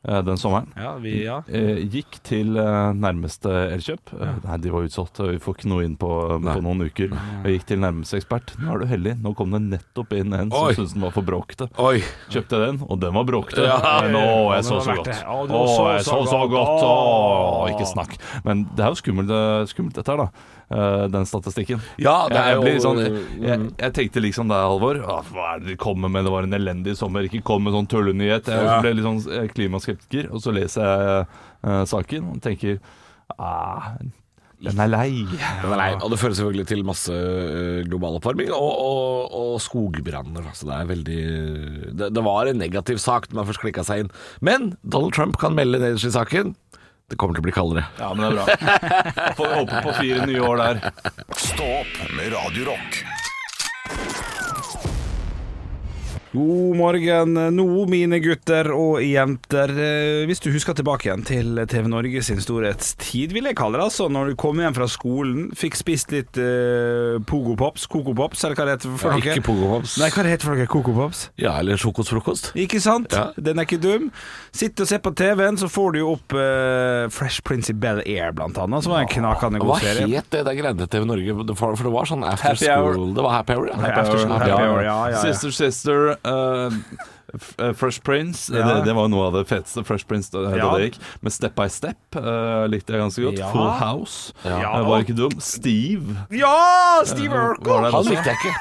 E: eh, den sommeren.
D: Ja, vi, ja.
E: Eh, Gikk til eh, nærmeste elkjøp. Eh, Nei, de var utsolgt, og vi får ikke noe inn på, på noen uker. Jeg gikk til nærmeste ekspert. Nå er du heldig, nå kom det nettopp inn en
F: Oi.
E: som syntes den var for bråkete.
F: Oi.
E: Kjøpte den, og den var bråkete.
F: Ja.
E: Men å, jeg
D: Ja,
E: så så
D: det var verdt
E: godt.
D: det. Ja, det
E: Å,
D: var så,
E: jeg
D: så
E: så så
D: godt.
E: godt. Å,
D: Å.
E: ikke snakk. Men det er jo skummelt, eh, skummelt dette her, da. Eh, Den statistikken.
F: Ja, det er
E: jeg,
F: jo
E: blir sånn, jeg, jeg tenkte liksom det, Halvor. «Å, Hva er det de kommer med? Det var en elendig sommer. Ikke kom med sånn tullenyhet. Jeg
F: Ja.
E: ble litt sånn eh, klimaskeptiker, og så leser jeg eh, saken og tenker ah, Den er lei.
F: Den er lei. Og det fører selvfølgelig til masse ø, global oppvarming og, og, og skogbranner. Altså det er veldig det, det var en negativ sak når man først klikka seg inn. Men Donald Trump kan melde nederst i saken. Det kommer til å bli kaldere.
E: Ja, men det er bra. Får håpe på fire nye år der.
A: Stå opp med Radio Rock.
D: God morgen nå, mine gutter og jenter. Eh, Hvis du husker tilbake igjen til TV Norge sin storhetstid, vil jeg kalle det. altså Når du kom hjem fra skolen, fikk spist litt eh, Pogo Pops, Coco Pops, eller hva det heter for
F: Ja,
D: noe.
F: ikke Pogo Pops.
D: Nei, hva det heter for noe? Coco Pops?
F: Ja, eller sjokosfrokost.
D: Ikke sant?
F: Ja.
D: Den er ikke dum. Sitt og se på TV-en, så får du jo opp eh, Fresh Prince i Bel Air, blant annet, som var en knakende
F: Hva
D: god serie.
F: het det der greiene til TV Norge? Det var- For det var sånn after
E: Happy hour.
F: school Det var happy hour, ja.
D: Happy hour, happy hour, ja, ja, ja.
E: Sister, sister. eh, f- eh, Fresh Prince,
D: Ja.
E: det, det var jo noe av det feteste Fresh Prince da, da
D: Ja.
E: det gikk. Men Step by Step eh, likte jeg ganske godt.
D: Ja.
E: Full House
D: Ja.
E: eh, var ikke dum. Steve eh,
D: Ja! Steve Urkel!
E: var der
F: Han
E: også.
F: likte jeg ikke.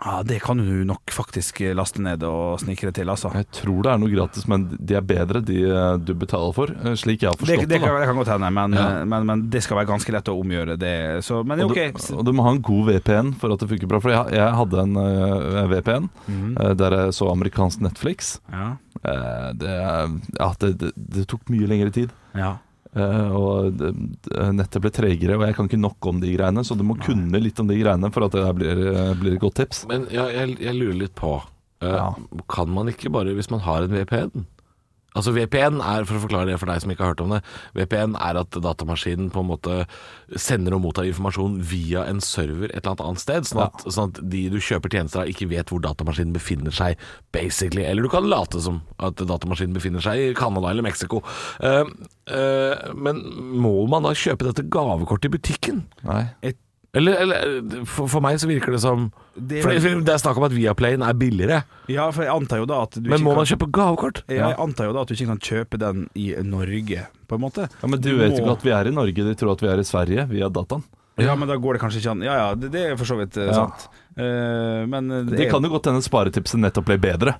D: Ja, Det kan du nok faktisk laste ned og snikre til, altså.
E: Jeg tror det er noe gratis, men de er bedre, de eh, du betaler for. eh, Slik jeg har
D: Det,
E: forstått
D: det,
E: det.
D: kan,
E: da.
D: det kan godt hende, men,
E: Ja.
D: men, men det skal være ganske lett å omgjøre det. Så, men
E: Og altså, du,
D: ok.
E: og du må ha en god VPN for at det funker bra. For jeg, jeg hadde en eh, VPN
D: Mm.
E: eh, der jeg så amerikansk Netflix.
D: Ja.
E: Eh, det, ja, det, det, det tok mye lengre tid.
D: ja.
E: Eh, og det, det- nettet ble tregere, og jeg kan ikke nok om de greiene, så du må kunne litt om de greiene for at det her blir, eh, blir et godt tips.
F: Men jeg, jeg, jeg lurer litt på eh,
E: Ja.
F: Kan man ikke bare, hvis man har en VPN Altså VPN er, for å forklare det for deg som ikke har hørt om det VPN er at datamaskinen på en måte sender og mottar informasjon via en server et eller annet annet sted Sånn at, sånn at de du kjøper tjenester av ikke vet hvor datamaskinen befinner seg Basically, eller du kan late som at datamaskinen befinner seg i Kanada eller Meksiko Eh, eh, Men må man da kjøpe dette gavekortet i butikken?
E: Nei.
F: Eller, eller for, for meg så virker det som
D: Det-
F: for, for det er snakk om at Viaplayen er billigere.
D: ja, for jeg antar jo da at du
F: Men
D: ikke
F: må
D: kan-
F: man kjøpe gavekort?
D: Ja, Jeg antar jo da at du ikke kan kjøpe den i Norge, på en måte.
E: Ja, men du vet
D: må-
E: ikke at vi er i Norge, de tror at vi er i Sverige via dataen.
D: Ja, men da går det kanskje ikke an. Ja ja, det, det er for så vidt eh,
E: Ja.
D: sant. Eh, men det,
E: Det
D: er-
E: kan jo godt hende sparetipset nettopp ble bedre.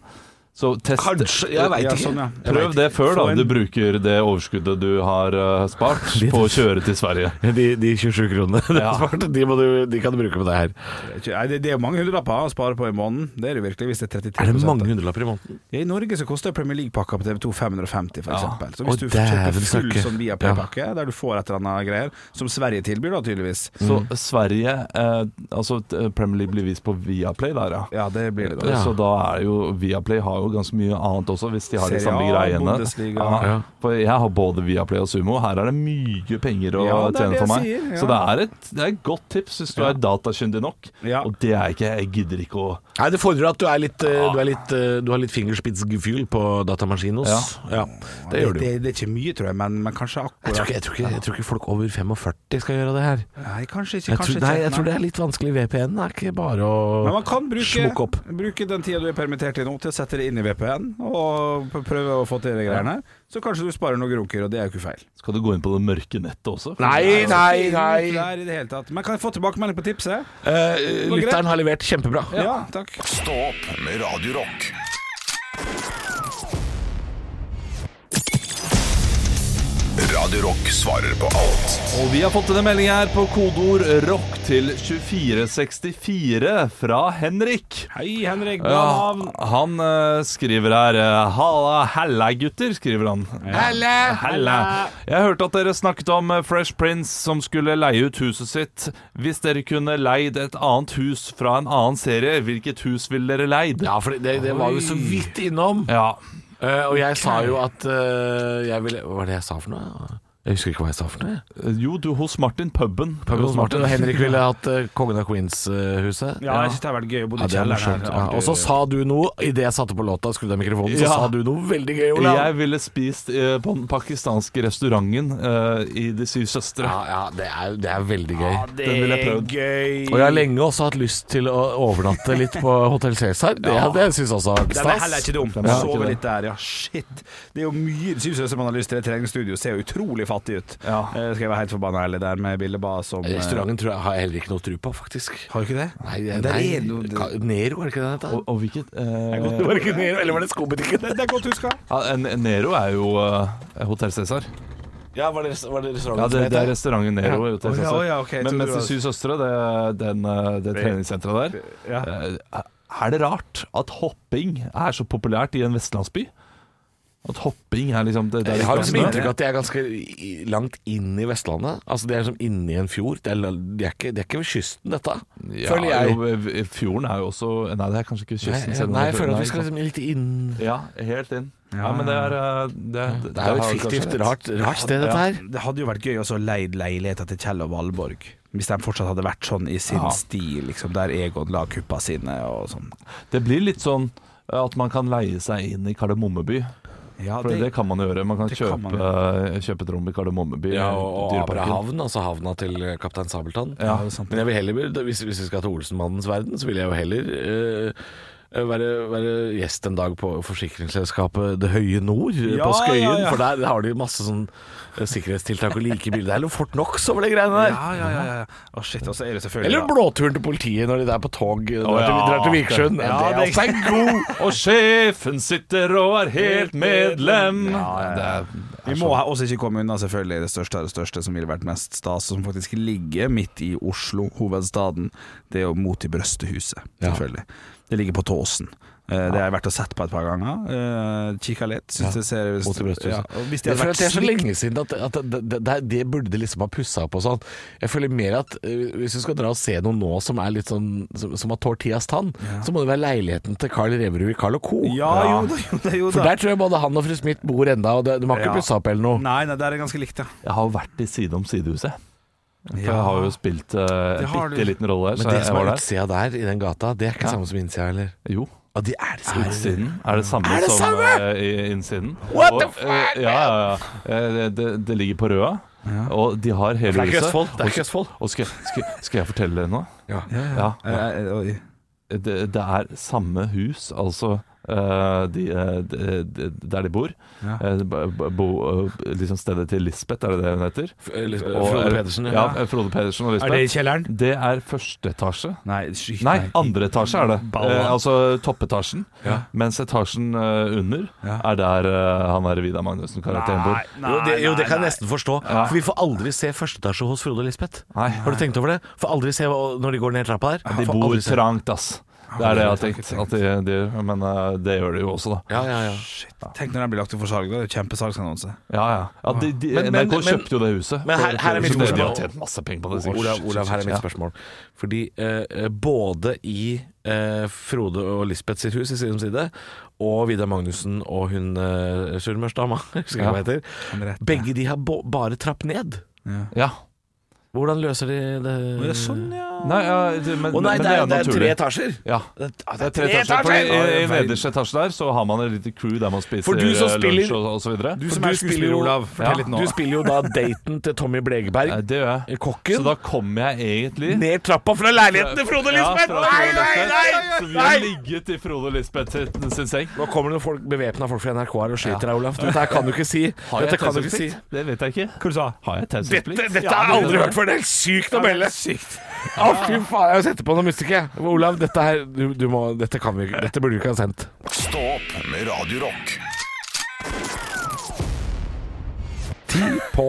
E: Så test
F: Kanskje, jeg veit
D: ja,
F: ikke.
D: Sånn, ja. Jeg
E: Prøv
D: vet
E: det
D: ikke.
E: før,
D: Få
E: da.
D: en-
E: Du bruker det overskuddet du har eh, spart, på å kjøre til Sverige.
F: De, de 27 kronene du
E: Ja.
F: har spart, de, må du, de kan du bruke på det her.
D: Nei, det, det er mange hundrelapper å spare på i måneden. Det er det virkelig, hvis det er 33
F: Er det mange hundrelapper i måneden?
D: Ja, I Norge så koster Premier League-pakka på TV2 550, for eksempel. Så
F: Å,
D: hvis du
F: dæven
D: kjøper full
F: søkke.
D: sånn Viaplay-pakke, der du får et eller annet greier, som Sverige tilbyr, da, tydeligvis
F: Mm.
E: Så Sverige eh, Altså, eh, Premier League blir vist på Viaplay der, ja.
D: Ja, det blir det, da.
E: Eh,
F: Ja.
E: Så da er jo Viaplay har jo ganske mye annet også, hvis de har de
D: Serie
E: samme
D: A,
E: greiene.
D: Bundesliga.
E: Ja,
F: Ja.
E: for jeg har både Viaplay og Sumo. Her er det mye penger å
D: Ja, det er det
E: tjene
D: jeg
E: for meg.
D: sier, ja.
E: Så det er, et, det er et godt tips hvis du er datakyndig nok.
D: Ja.
E: Og det er ikke Jeg gidder ikke å
F: Nei, Det fordrer at du, er litt, eh, du, er litt, eh, du har litt fingerspitzgefühl på datamaskinen hos. Ja. Det gjør du.
D: Det,
F: jo.
D: det er ikke mye, tror jeg, men, men kanskje akkurat
F: Jeg tror, ikke, jeg, tror ikke, jeg tror ikke folk over 45 skal gjøre det her.
D: Nei, kanskje ikke.
F: Jeg
D: Kanskje
F: tror, nei,
D: ikke.
F: jeg tror det er litt vanskelig. VPN er ikke bare
D: Men
F: å
D: man kan
F: Smokk
D: bruke,
F: opp.
D: bruke den tida du er permittert i nå til å sette det inn i VPN og p- prøve å få til de greiene. Så kanskje du sparer noen grunker, og det er jo ikke feil.
E: Skal du gå inn på det mørke nettet også?
F: Nei, nei,
D: Det er ikke der i det hele tatt. Men kan jeg få tilbakemelding på tipset?
F: Eh,
D: greit.
F: Lytteren har levert kjempebra.
D: Ja, takk.
A: Stå opp med Radio Rock. Radio Rock svarer på alt.
E: Og vi har fått en melding her på kodeord rock til 2464 fra Henrik.
D: Hei, Henrik. Bra
E: Ja,
D: navn.
E: han eh, skriver her eh, Halla, hella gutter, skriver han. Helle, helle. Jeg hørte at dere snakket om eh, Fresh Prince som skulle leie ut huset sitt. Hvis dere kunne leid et annet hus fra en annen serie, hvilket hus ville dere leid?
F: Ja, for det, det var jo så vidt innom.
E: Ja.
F: Eh, og jeg sa jo at eh, jeg ville Hva var det jeg sa for noe? Jeg husker ikke hva jeg sa for noe.
E: Jo, du hos Martin, puben.
F: Hos Martin og Henrik ville hatt eh, Kongen av Queens-huset.
D: Ja, jeg synes det har vært gøy å bo i
F: det er
D: kjelleren.
F: morsomt.
D: her.
F: Ja, og så sa du noe Idet jeg satte på låta og skrudde av mikrofonen, så
E: Ja.
F: sa du noe veldig gøy, Olav.
E: Jeg ville spist eh, på den pakistanske restauranten eh, i De syv søstre.
F: Ja, ja det, er, det er veldig gøy.
E: Den ville jeg prøvd.
D: Gøy.
F: Og jeg har lenge også hatt lyst til å overnatte litt på Hotell Cæsar. Det hadde jeg syntes også var
D: Den er heller
F: stas.
D: ikke dum.
E: er ikke
D: Sove
E: det.
D: litt der, ja. Shit. Det er jo mye Syv søstre man har lyst til. Det treningsstudio ser jo utrolig fattig ut.
E: Ja.
D: Eh, Skal jeg være helt forbanna ærlig der med Bille Ba som eh,
F: Restauranten tror jeg har jeg heller ikke noe tru på, faktisk.
D: Har du ikke det?
F: Nei,
D: Men der
F: nei
D: er noe-
F: Ka- Nero, er det ikke
E: Og,
F: det det heter?
E: og hvilket eh,
F: Det var ikke Nero, eller var det skobutikken?
D: Det er godt huska.
E: ja, en- Nero er jo eh, Hotell Cæsar.
F: Ja, var det, var det restauranten
E: Ja, det,
F: som
E: det
F: het
E: er restauranten Nero. i Hotell
D: Å, ja,
E: Cæsar.
D: å, ja, ok, jeg
E: Men
D: trodde
E: mens
D: det
E: De
D: var-
E: syv søstre, det, den, eh, det treningssenteret der
D: Ja.
E: eh, Er det rart at hopping er så populært i en vestlandsby? At hopping er liksom det, det er
F: Jeg har
E: liksom
F: liksom
E: det.
F: inntrykk av at de er ganske i- langt inn i Vestlandet. Altså De er som inne i en fjord. Det er, la- de er ikke, de er ikke ved kysten, dette.
E: ja,
F: føler jeg.
E: jo, Fjorden er jo også Nei, det er kanskje ikke
F: Nei,
E: kysten.
F: jeg-
E: selv om
F: nei, jeg
E: det-
F: føler at
E: nei,
F: vi skal liksom litt inn
E: Ja, helt inn. Ja, men det er eh, Det, det,
F: Det er jo
E: har du
F: et
E: kanskje
F: fiktivt,
E: rett.
F: rart, rart sted, dette her.
D: Det hadde jo vært gøy også å leid leiligheter til Kjell og Valborg. Hvis de fortsatt hadde vært sånn i sin
E: Ja.
D: stil, liksom, der Egon la kuppa sine og sånn.
E: Det blir litt sånn eh, at man kan leie seg inn i Kardemommeby.
D: Ja,
E: For det, kan man jo gjøre. Man kan
D: det
E: kjøpe,
D: kan man
E: eh, kjøpe et rom i Kardemommeby.
F: Ja, og, og
E: Dyreparken.
F: Abrahavn, altså havna til kaptein Sabeltann.
D: Ja, det er sant.
F: Men jeg vil heller, hvis, hvis vi skal til Olsenmannens verden, så vil jeg jo heller eh, eh, være, være gjest en dag på forsikringsselskapet Det Høye Nord eh,
D: Ja,
F: på Skøyen.
D: ja, ja.
F: For der har de masse sånn eh, sikkerhetstiltak og like bilder. Det er noe Fort Knox over de greiene der.
D: Ja, ja, ja. ja. Å, shit, og så er det selvfølgelig
F: Eller blåturen til politiet når de er på tog eh, drar til,
E: ja.
F: drar til Vikersund. Ja,
D: Ja,
F: det er
D: det-
F: altså en god
E: Og sjefen sitter og er helt medlem.
D: Vi må ha- også ikke komme unna selvfølgelig det største av det største som ville vært mest stas, og som faktisk ligger midt i Oslo, hovedstaden. Det er jo Mot i brøstehuset, selvfølgelig. Det ligger på Tåsen. Eh, Det har jeg vært og sett på et par ganger. Eh, Kikka litt. Syns det ser
F: Mot i brøsthuset.
D: Ja, og hvis de
F: Jeg
D: hadde vært
F: føler at det er så
D: slik-
F: lenge siden at, at det, det, det, det burde de liksom ha pussa opp og sånn. Jeg føler mer at eh, hvis du skal dra og se noe nå som er litt sånn som, som har Tortillas tann, så må det være leiligheten til Carl Reverud i Carl Co.
D: Ja, jo da, jo da. Jo, da.
F: For der tror jeg både han og fru Smith bor enda, og det, de har ikke
D: Ja.
F: pussa opp eller noe.
D: Nei, nei, der er det ganske likt, ja.
E: Jeg har vært i Side om sidehuset. For
D: Ja.
E: jeg har jo spilt eh,
D: Det
E: en
D: har du.
E: bitte liten rolle der.
F: Men
E: Så
F: det
E: jeg
F: som
E: var
F: er
E: der.
F: utsida der, i den gata, det er ikke samme som innsida heller.
E: Jo.
F: Ja, de er det samme.
E: Utsiden er det samme
F: Er det
E: som
F: samme?
E: eh, i- innsiden.
F: What the
E: Og, eh, Ja, ja, ja. Eh, det- det, det ligger på Røa, og de har hele
F: Det er ikke
E: huset.
F: Østfold, det er
E: Og-
F: ikke Østfold.
E: Og skal, skal, skal jeg fortelle dere noe?
F: Ja.
E: Ja.
D: Eh, eh, oi.
E: Det, det er samme hus, altså. eh, de, eh, de, de, der de bor.
D: Ja.
E: Eh, bo, bo, eh, liksom stedet til Lisbeth, er det det hun heter? Og-
F: Eh, Frode Pedersen,
E: ja. ja. Frode Pedersen og Lisbeth.
D: kjelleren?
E: Det er første etasje.
D: Nei, skyt
E: Nei, andre etasje er det.
D: Balla.
E: Eh, altså toppetasjen. Mens etasjen eh, under er der eh, han er Vidar Magnussen-karakteren bor.
F: jo, det, jo, det kan jeg nesten forstå. For vi får aldri se første etasje hos Frode og Lisbeth.
E: Nei.
F: Har du tenkt over det? Får aldri se hva- når de går ned trappa der.
E: De
F: Får
E: bor
F: aldri se.
E: trangt, ass. Det er det jeg har tenkt. At de, de, gjør, men eh, det gjør de jo også, da.
F: Ja, ja, ja.
D: Tenk når den blir lagt ut for salg, da. Det er jo Kjempesalgsannonse.
E: Ja, ja. ja de, de,
F: Men- men-
E: NRK
F: men-
E: kjøpte jo det huset.
F: men her-
E: for-
F: her er mitt
E: så de- De
F: spørsmål.
E: har tjent masse penger på det. sikkert.
F: Olav, Olav, her er mitt spørsmål. Fordi eh, eh, både i eh, Frode og Lisbeth sitt hus i side om side, og Vidar Magnussen og hun eh, surmørsdama, jeg husker ikke hva hun
D: Henriette.
F: heter, begge de har bo- bare trapp ned.
E: Ja.
F: Hvordan løser de det?
D: Det er sånn, ja.
E: Nei, ja, det, men,
F: Å nei,
E: men
F: det er, det er
E: naturlig.
F: tre etasjer!
E: Ja.
F: Det er,
E: Det er tre etasjer, fordi eh, I, i nederste etasje der så har man et lite crew der man spiser
F: For du som
E: eh,
F: spiller-
E: lunsj og, og så videre.
F: Du
D: For
F: som
D: du
F: er
D: skuespiller,
F: skuespiller,
D: Olav,
F: Olav,
D: fortell litt nå.
F: Du spiller jo da daten til Tommy Blegeberg,
E: Nei, det gjør jeg. Så
F: kokken.
E: da kommer jeg egentlig
F: Ned trappa fra leiligheten til Frode og
E: Ja,
F: Lisbeth!
E: fra Frode
F: Nei, nei,
E: Lisbeth. Så vi har
F: nei! nei!
E: ligget i Frode og Lisbeth sin, sin seng.
F: Nå kommer det noen folk, bevæpna folk fra NRK her og skyter deg, Olaf. Dette her kan du ikke si. Dette kan du ikke si.
E: Det vet jeg ikke.
D: Hva du sa
E: Har jeg
F: Dette,
E: taushetsplikt?
F: dette har jeg aldri hørt før! Det er helt sykt å melde! Å, fy faen. Jeg setter på noe musikk, jeg. Olav, dette her du, du må, Dette kan vi ikke. Dette burde du ikke ha sendt.
A: Stå opp med Radio Rock.
F: Ti på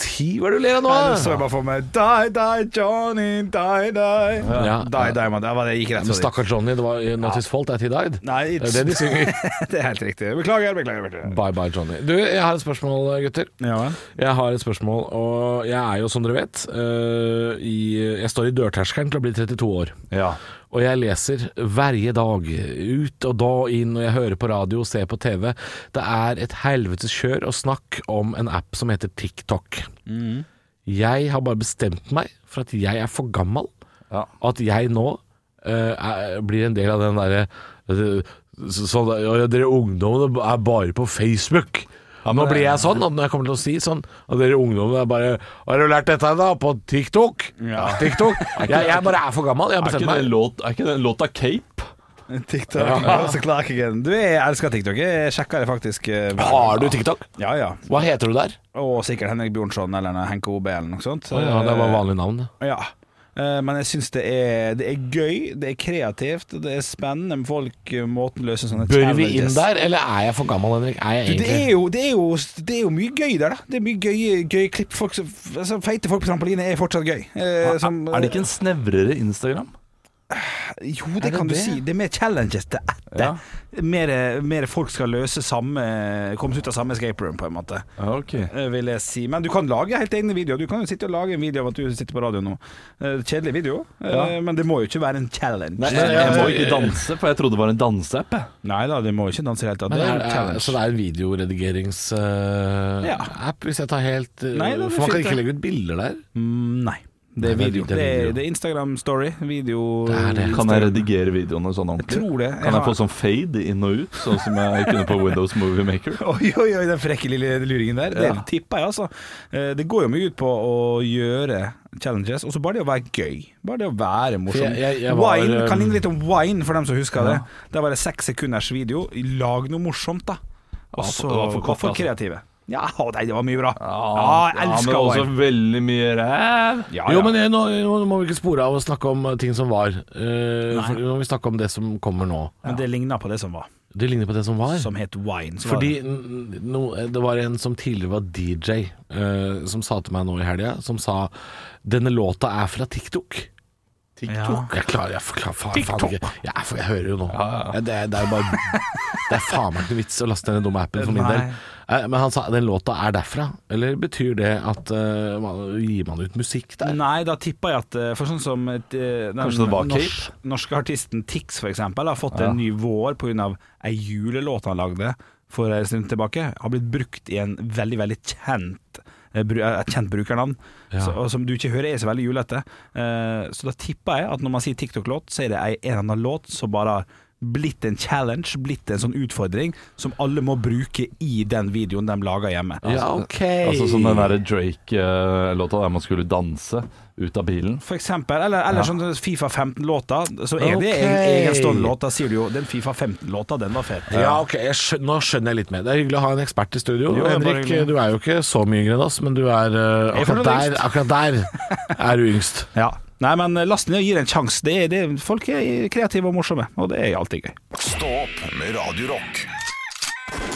F: ti? Hva er det du ler av nå?
D: Så jeg bare for meg Die, die, Johnny, die, die.
F: Ja.
D: Die, die, man. Det var det jeg gikk rett
F: Men
D: og
F: Stakkar Johnny, det var Not His Fault That He Died.
D: Nei,
F: Det er det de synger.
D: det er helt riktig. Beklager, beklager. beklager.
F: Bye bye, Johnny. Du, jeg har et spørsmål, gutter.
D: Ja,
F: Jeg har et spørsmål, og jeg er jo, som dere vet, øh, i, jeg står i dørterskelen til å bli 32 år.
E: Ja.
F: Og jeg leser hver dag, ut og da inn, og jeg hører på radio og ser på TV. Det er et helvetes kjør å snakke om en app som heter TikTok.
E: Mhm.
F: Jeg har bare bestemt meg for at jeg er for gammel,
E: Ja.
F: at jeg nå eh, er, blir en del av den derre eh, så- Sånn, der, ja, dere ungdommene er bare på Facebook. nå blir jeg sånn, og når jeg kommer til å si sånn Og dere ungdommene er bare Har du lært dette da? På TikTok? TikTok? Jeg, jeg bare er for gammel. Jeg
E: Er
F: har bestemt
E: ikke
F: meg.
E: det låt, er ikke det en låt av Cape?
D: TikTok. Altså, Clark again. Du, jeg elsker TikTok. Jeg sjekker det faktisk. eh, hver
F: Har du
D: dag.
F: TikTok?
D: Ja, ja.
F: Hva heter du der?
D: Og sikkert Henrik Bjørnson eller en Henke OB eller noe sånt.
F: det var vanlig navn.
D: Ja. Eh, Men jeg syns det, er- det er gøy, det er kreativt, og det er spennende med folk eh, måten løser sånne
F: Bør vi inn
D: challenges.
F: der, eller er jeg for gammel, Henrik? Er jeg
D: Du, det, er
F: egentlig
D: jo, det, er jo, det er jo mye gøy der, da. Det er mye gøye, gøye klipp. Folk, som- altså, feite folk på trampoline er fortsatt gøy. Eh, som-
E: Ah, Er det ikke en snevrere Instagram?
D: Jo, det, kan du si. Det er mer challenges til etter.
E: Ja.
D: Mer, mer folk skal løse samme Komme seg ut av samme escape room, på en måte.
E: Ok.
D: eh, Vil jeg si. Men du kan lage helt egne videoer. Du kan jo sitte og lage en video av at du sitter på radio nå. Eh, Kjedelig video, eh,
E: Ja.
D: men det må jo ikke være en challenge.
E: Nei, jeg, jeg må ikke danse, for jeg trodde det var en danseapp. jeg.
D: Nei da, det må jo ikke danse i det hele tatt.
F: Men
D: Det er
F: er,
D: jo en
F: er, så
D: challenge.
F: det altså, er en videoredigerings-app,
D: Ja.
F: hvis jeg tar helt eh,
D: Nei, det er
F: For man
D: fint,
F: kan ikke
D: det.
F: legge ut bilder der.
D: Mm, Nei. Det er
F: Nei, det er
D: video.
F: video.
D: Det er, det er Instagram-story. Video
F: Det er det.
E: Kan jeg redigere videoene sånn ordentlig?
D: Jeg tror det. Jeg
E: Kan jeg
D: har-
E: få sånn fade inn og ut, sånn som jeg kunne på Windows Movie Maker?
D: Oi, oi, oi, den frekke lille luringen der. Det tipper jeg, altså. Eh, Det går jo mye ut på å gjøre challenges, og så bare det å være gøy. Bare det å være morsom.
F: For jeg- jeg- jeg var,
D: wine,
F: um,
D: kan ligne litt om wine, for dem som husker det. Der var det seks sekunders video. Lag noe morsomt, da. Og
E: for- det
D: så
E: var for
D: var
E: kort,
D: for
E: altså.
D: kreative. Ja, å, nei, det var mye bra. Ja, jeg elsker
E: men også
D: wine.
E: veldig mye ræv.
D: Ja,
F: Jo,
D: ja.
F: men jeg, nå, nå må vi ikke spore av å snakke om ting som var. Eh, for, nå må vi snakke om det som kommer nå.
D: Men det ligna på det som var,
F: Det ligner på det som var.
D: som het wine. Så
F: Fordi
D: var det.
F: n- no, eh, det var en som tidligere var DJ, eh, som sa til meg nå i helga, som sa 'Denne låta er fra TikTok'.
D: TikTok?
F: Jeg klarer jeg, klarer faen, faen ikke jeg, er- for jeg hører jo nå. Ja, Det, er- det er jo bare Det er faen meg ikke noe vits å laste ned den dumme appen for min del.
D: Nei.
F: Eh, Men han sa 'den låta er derfra'. Eller betyr det at eh, man, gir man ut musikk der?
D: Nei, da tipper jeg at eh, For sånn som et, eh, den
E: Kanskje det var
D: norsk, norske artisten Tix for eksempel har fått en ny vår pga. ei julelåt han lagde for en stund tilbake. Har blitt brukt i en veldig, veldig kjent eh, bru- eh, et kjent brukernavn, så, og som du ikke hører er så veldig julete. Eh, så da tipper jeg at når man sier TikTok-låt, så er det ei, en eller annen låt som bare har blitt en challenge, blitt en sånn utfordring som alle må bruke i den videoen de lager hjemme.
F: Ja, ok.
E: Altså som den derre Drake-låta der man skulle danse ut av bilen.
D: For eksempel, eller, eller sånn Fifa 15-låta. Så er det
F: Ok.
D: egen, egen stålåt. Da sier du jo den Fifa 15-låta, den var fet.
F: Ja, ok, jeg skjøn- Nå skjønner jeg litt mer. Det er hyggelig å ha en ekspert i studio.
D: Jo, det er bare
F: Henrik,
D: hyggelig.
F: du er jo ikke så mye yngre enn oss, men du er eh,
D: Jeg er
F: akkurat,
D: fortsatt
F: der, akkurat der er du yngst.
D: Ja. Nei, men eh, last ned og gi det en sjanse. Det, er- det, er- folk er kreative og morsomme, og det er alltid gøy.
A: Stå opp med Radio Rock.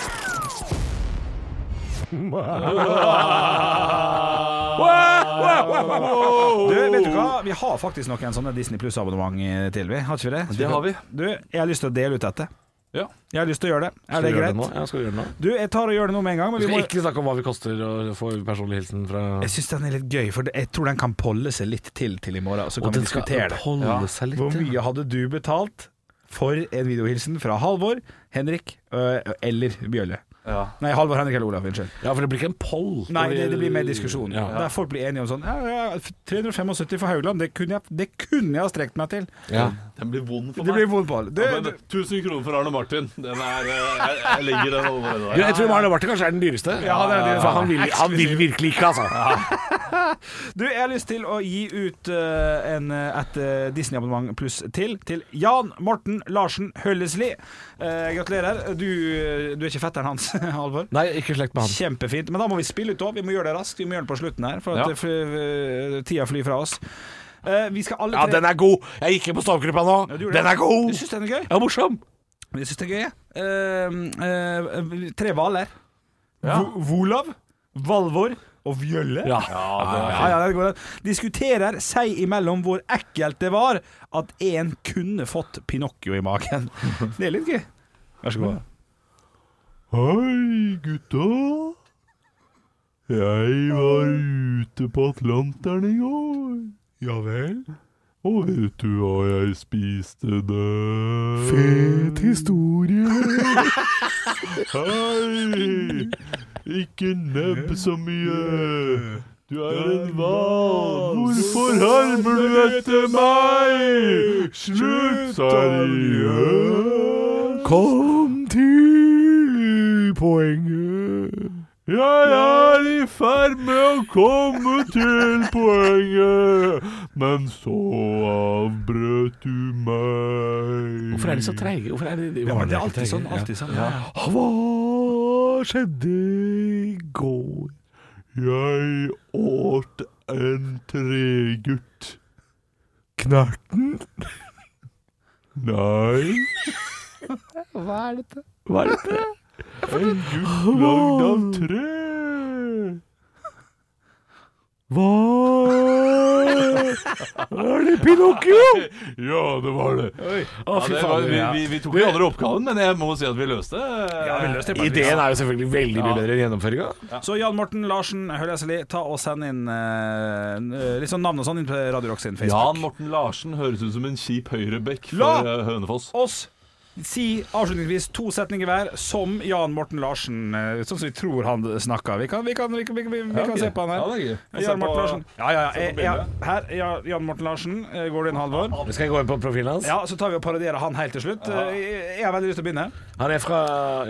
D: Du, vet du hva?
F: Oh.
D: Vi har faktisk noen sånne Disney Pluss-abonnement til, vi. Har ikke vi det?
E: Det har vi.
D: Du, jeg har lyst til å dele ut dette.
E: Ja.
D: Jeg har lyst til å gjøre det. Er det greit?
F: Ja, skal du gjøre det nå?
D: du, jeg tar og gjør det nå med en gang. Men
F: Vi
D: vi
F: skal
D: må...
F: ikke snakke om hva vi koster og få personlig hilsen fra
D: Jeg syns den er litt gøy, for jeg tror den kan polde seg litt til til i morgen. Så kan vi diskutere det.
F: holde seg litt.
D: Hvor mye hadde du betalt for en videohilsen fra Halvor, Henrik øh, eller Bjølle? Nei, Halvor, Henrik eller Olav, unnskyld.
F: Ja, for det blir ikke en poll.
D: Nei, det, det blir mer diskusjon.
F: Ja.
D: Der folk blir enige om sånn ja, ja, 375 for Haugland, det kunne jeg, det kunne jeg ha strekt meg til.
F: Ja.
E: Den blir vond for
D: Det blir vondt på alle. Du,
E: 1000 kroner for Arne Martin. Den er, eh, jeg, legger den allerede
F: Du, jeg tror Marne Martin kanskje er den dyreste.
D: Ja, det er den dyreste.
F: For han vil, han vil virkelig ikke, altså.
D: Du, jeg har lyst til å gi ut eh, en, eh, et eh, Disney-abonnement pluss til til Jan Morten Larsen Høllesli. Eh, gratulerer. Du, eh, du er ikke fetteren hans, Halvor?
F: Nei, ikke slekt med han.
D: Kjempefint. Men da må vi spille ut òg. Vi må gjøre det raskt. Vi må gjøre det på slutten her, for at
E: Ja.
D: det fly- øh, tida flyr fra oss. Eh, vi skal alle
F: Ja, den er god. Jeg gikk inn på stavgruppa nå.
D: du gjorde
F: Den
D: det.
F: er god.
D: Du syns den er gøy?
F: Ja, morsom.
D: Jeg syns den er gøy, jeg. Eh, eh, tre hvaler. Vo- Volav, Valvor og Vjølle.
F: Ja.
D: Ja, ja, det går an. Diskuterer seg imellom hvor ekkelt det var at én kunne fått Pinocchio i magen. Det er litt gøy. Vær så god.
E: Hei, gutta. Jeg var ute på Atlanteren i går. Ja vel? Og vet du hva jeg spiste der? Fet historie. Hei! Ikke nebb så mye. Du er en hval. Hvorfor harmer du etter meg? Slutt, seriøst. Kom til poenget. Jeg er i ferd med å komme til poenget, men så avbrøt du meg.
F: Hvorfor er de så treige? Hvorfor er de, de,
D: Ja, men det er alltid sånn. Alltid sånn. Ja.
E: Hva skjedde i går? Jeg åt en tregutt. Knerten? Nei. Hva er dette? Hva er dette? En gutt lagd av tre. Hva Er det Pinocchio? Ja, det var det. Ja, det var, vi, vi, vi tok jo aldri oppgaven, men jeg må si at vi løste
D: vi løste det på et vis.
F: Ideen er jo selvfølgelig veldig mye bedre enn gjennomføringa.
D: Så Jan Morten Larsen Høllesli, ta og send inn eh, n- eh, litt sånn navn og sånn inn på Radio Rock sin Facebook.
E: Jan Morten Larsen høres ut som en kjip høyrebekk
D: La
E: for eh, Hønefoss.
D: Oss Si avslutningsvis to setninger hver som Jan Morten Larsen, eh, sånn som vi tror han snakker. Vi kan, vi kan, vi, kan- vi, vi, vi kan
E: ok.
D: se på han
E: Ja,
D: her.
E: det er gøy. Få se
D: Jan Morten
E: på-
D: Larsen. Ja, ja, ja.
E: se på
D: Eh, ja.
E: bildet.
D: Her, ja, Jan Morten Larsen. Eh, Går det inn, Halvor?
F: Skal jeg gå inn på profilen hans?
D: Ja, så tar vi og parodierer han helt til slutt. Eh, Jeg jeg har veldig lyst til å begynne. Å
F: Han er fra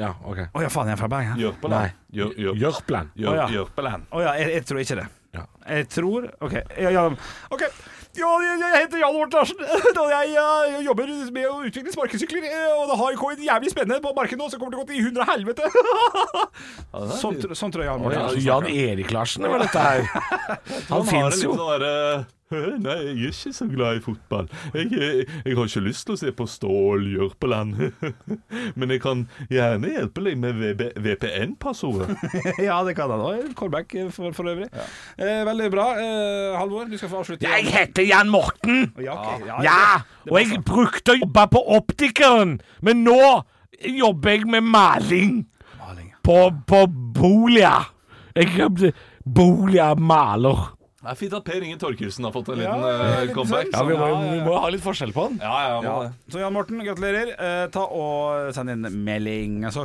F: Ja, OK.
D: ja, faen, jeg er fra Bergen. Å
F: Nei.
E: Jørpeland. Jør- jør-
F: Jørpeland.
E: jør-
D: Å, ja.
E: Jørpeland.
D: ja, jeg, jeg tror ikke det.
F: Ja.
D: Jeg tror OK. Ja, ja, ok. Ja, jeg, jeg heter Jan Morten Larsen, og jeg, eh, jobber med å utvikle sparkesykler. eh, Og det har kommet jævlig spennende på markedet nå, så kommer det å gå til hundre helvete.
E: Ja, det er
D: Sånn,
E: fint.
D: tr- sånn tror jeg Jan
F: Å,
D: Morten
F: ja.
D: Larsen
F: Jan Erik Larsen var dette her. Han
E: Han har en
F: fins jo.
E: litt sånn derre «Hø, Nei, jeg er ikke så glad i fotball. Jeg, jeg, jeg har ikke lyst til å se på Stål Jørpeland. Men jeg kan gjerne hjelpe deg med VPN-passordet.
D: Ja, det kan han òg. Callback for, for øvrig. Eh, veldig bra. Eh, Halvor, du skal få avslutte.
F: Jeg heter Jan Morten!
D: ja, ok. ja,
F: Ja! Og jeg brukte å jobbe på Optikeren, men nå jobber jeg med maling
D: Maling.
F: på, på boliger. Jeg kan bli boligmaler.
E: Det er fint at Per Inge Torkelsen har fått en
D: Ja,
E: liten
D: ja,
E: eh,
D: litt
E: comeback.
D: sånn. Ja, vi må- vi må
F: ha litt forskjell på han.
E: Ja, ja, må
D: Ja.
E: det.
D: Så Jan Morten, gratulerer. Eh, ta og Send inn melding. Altså,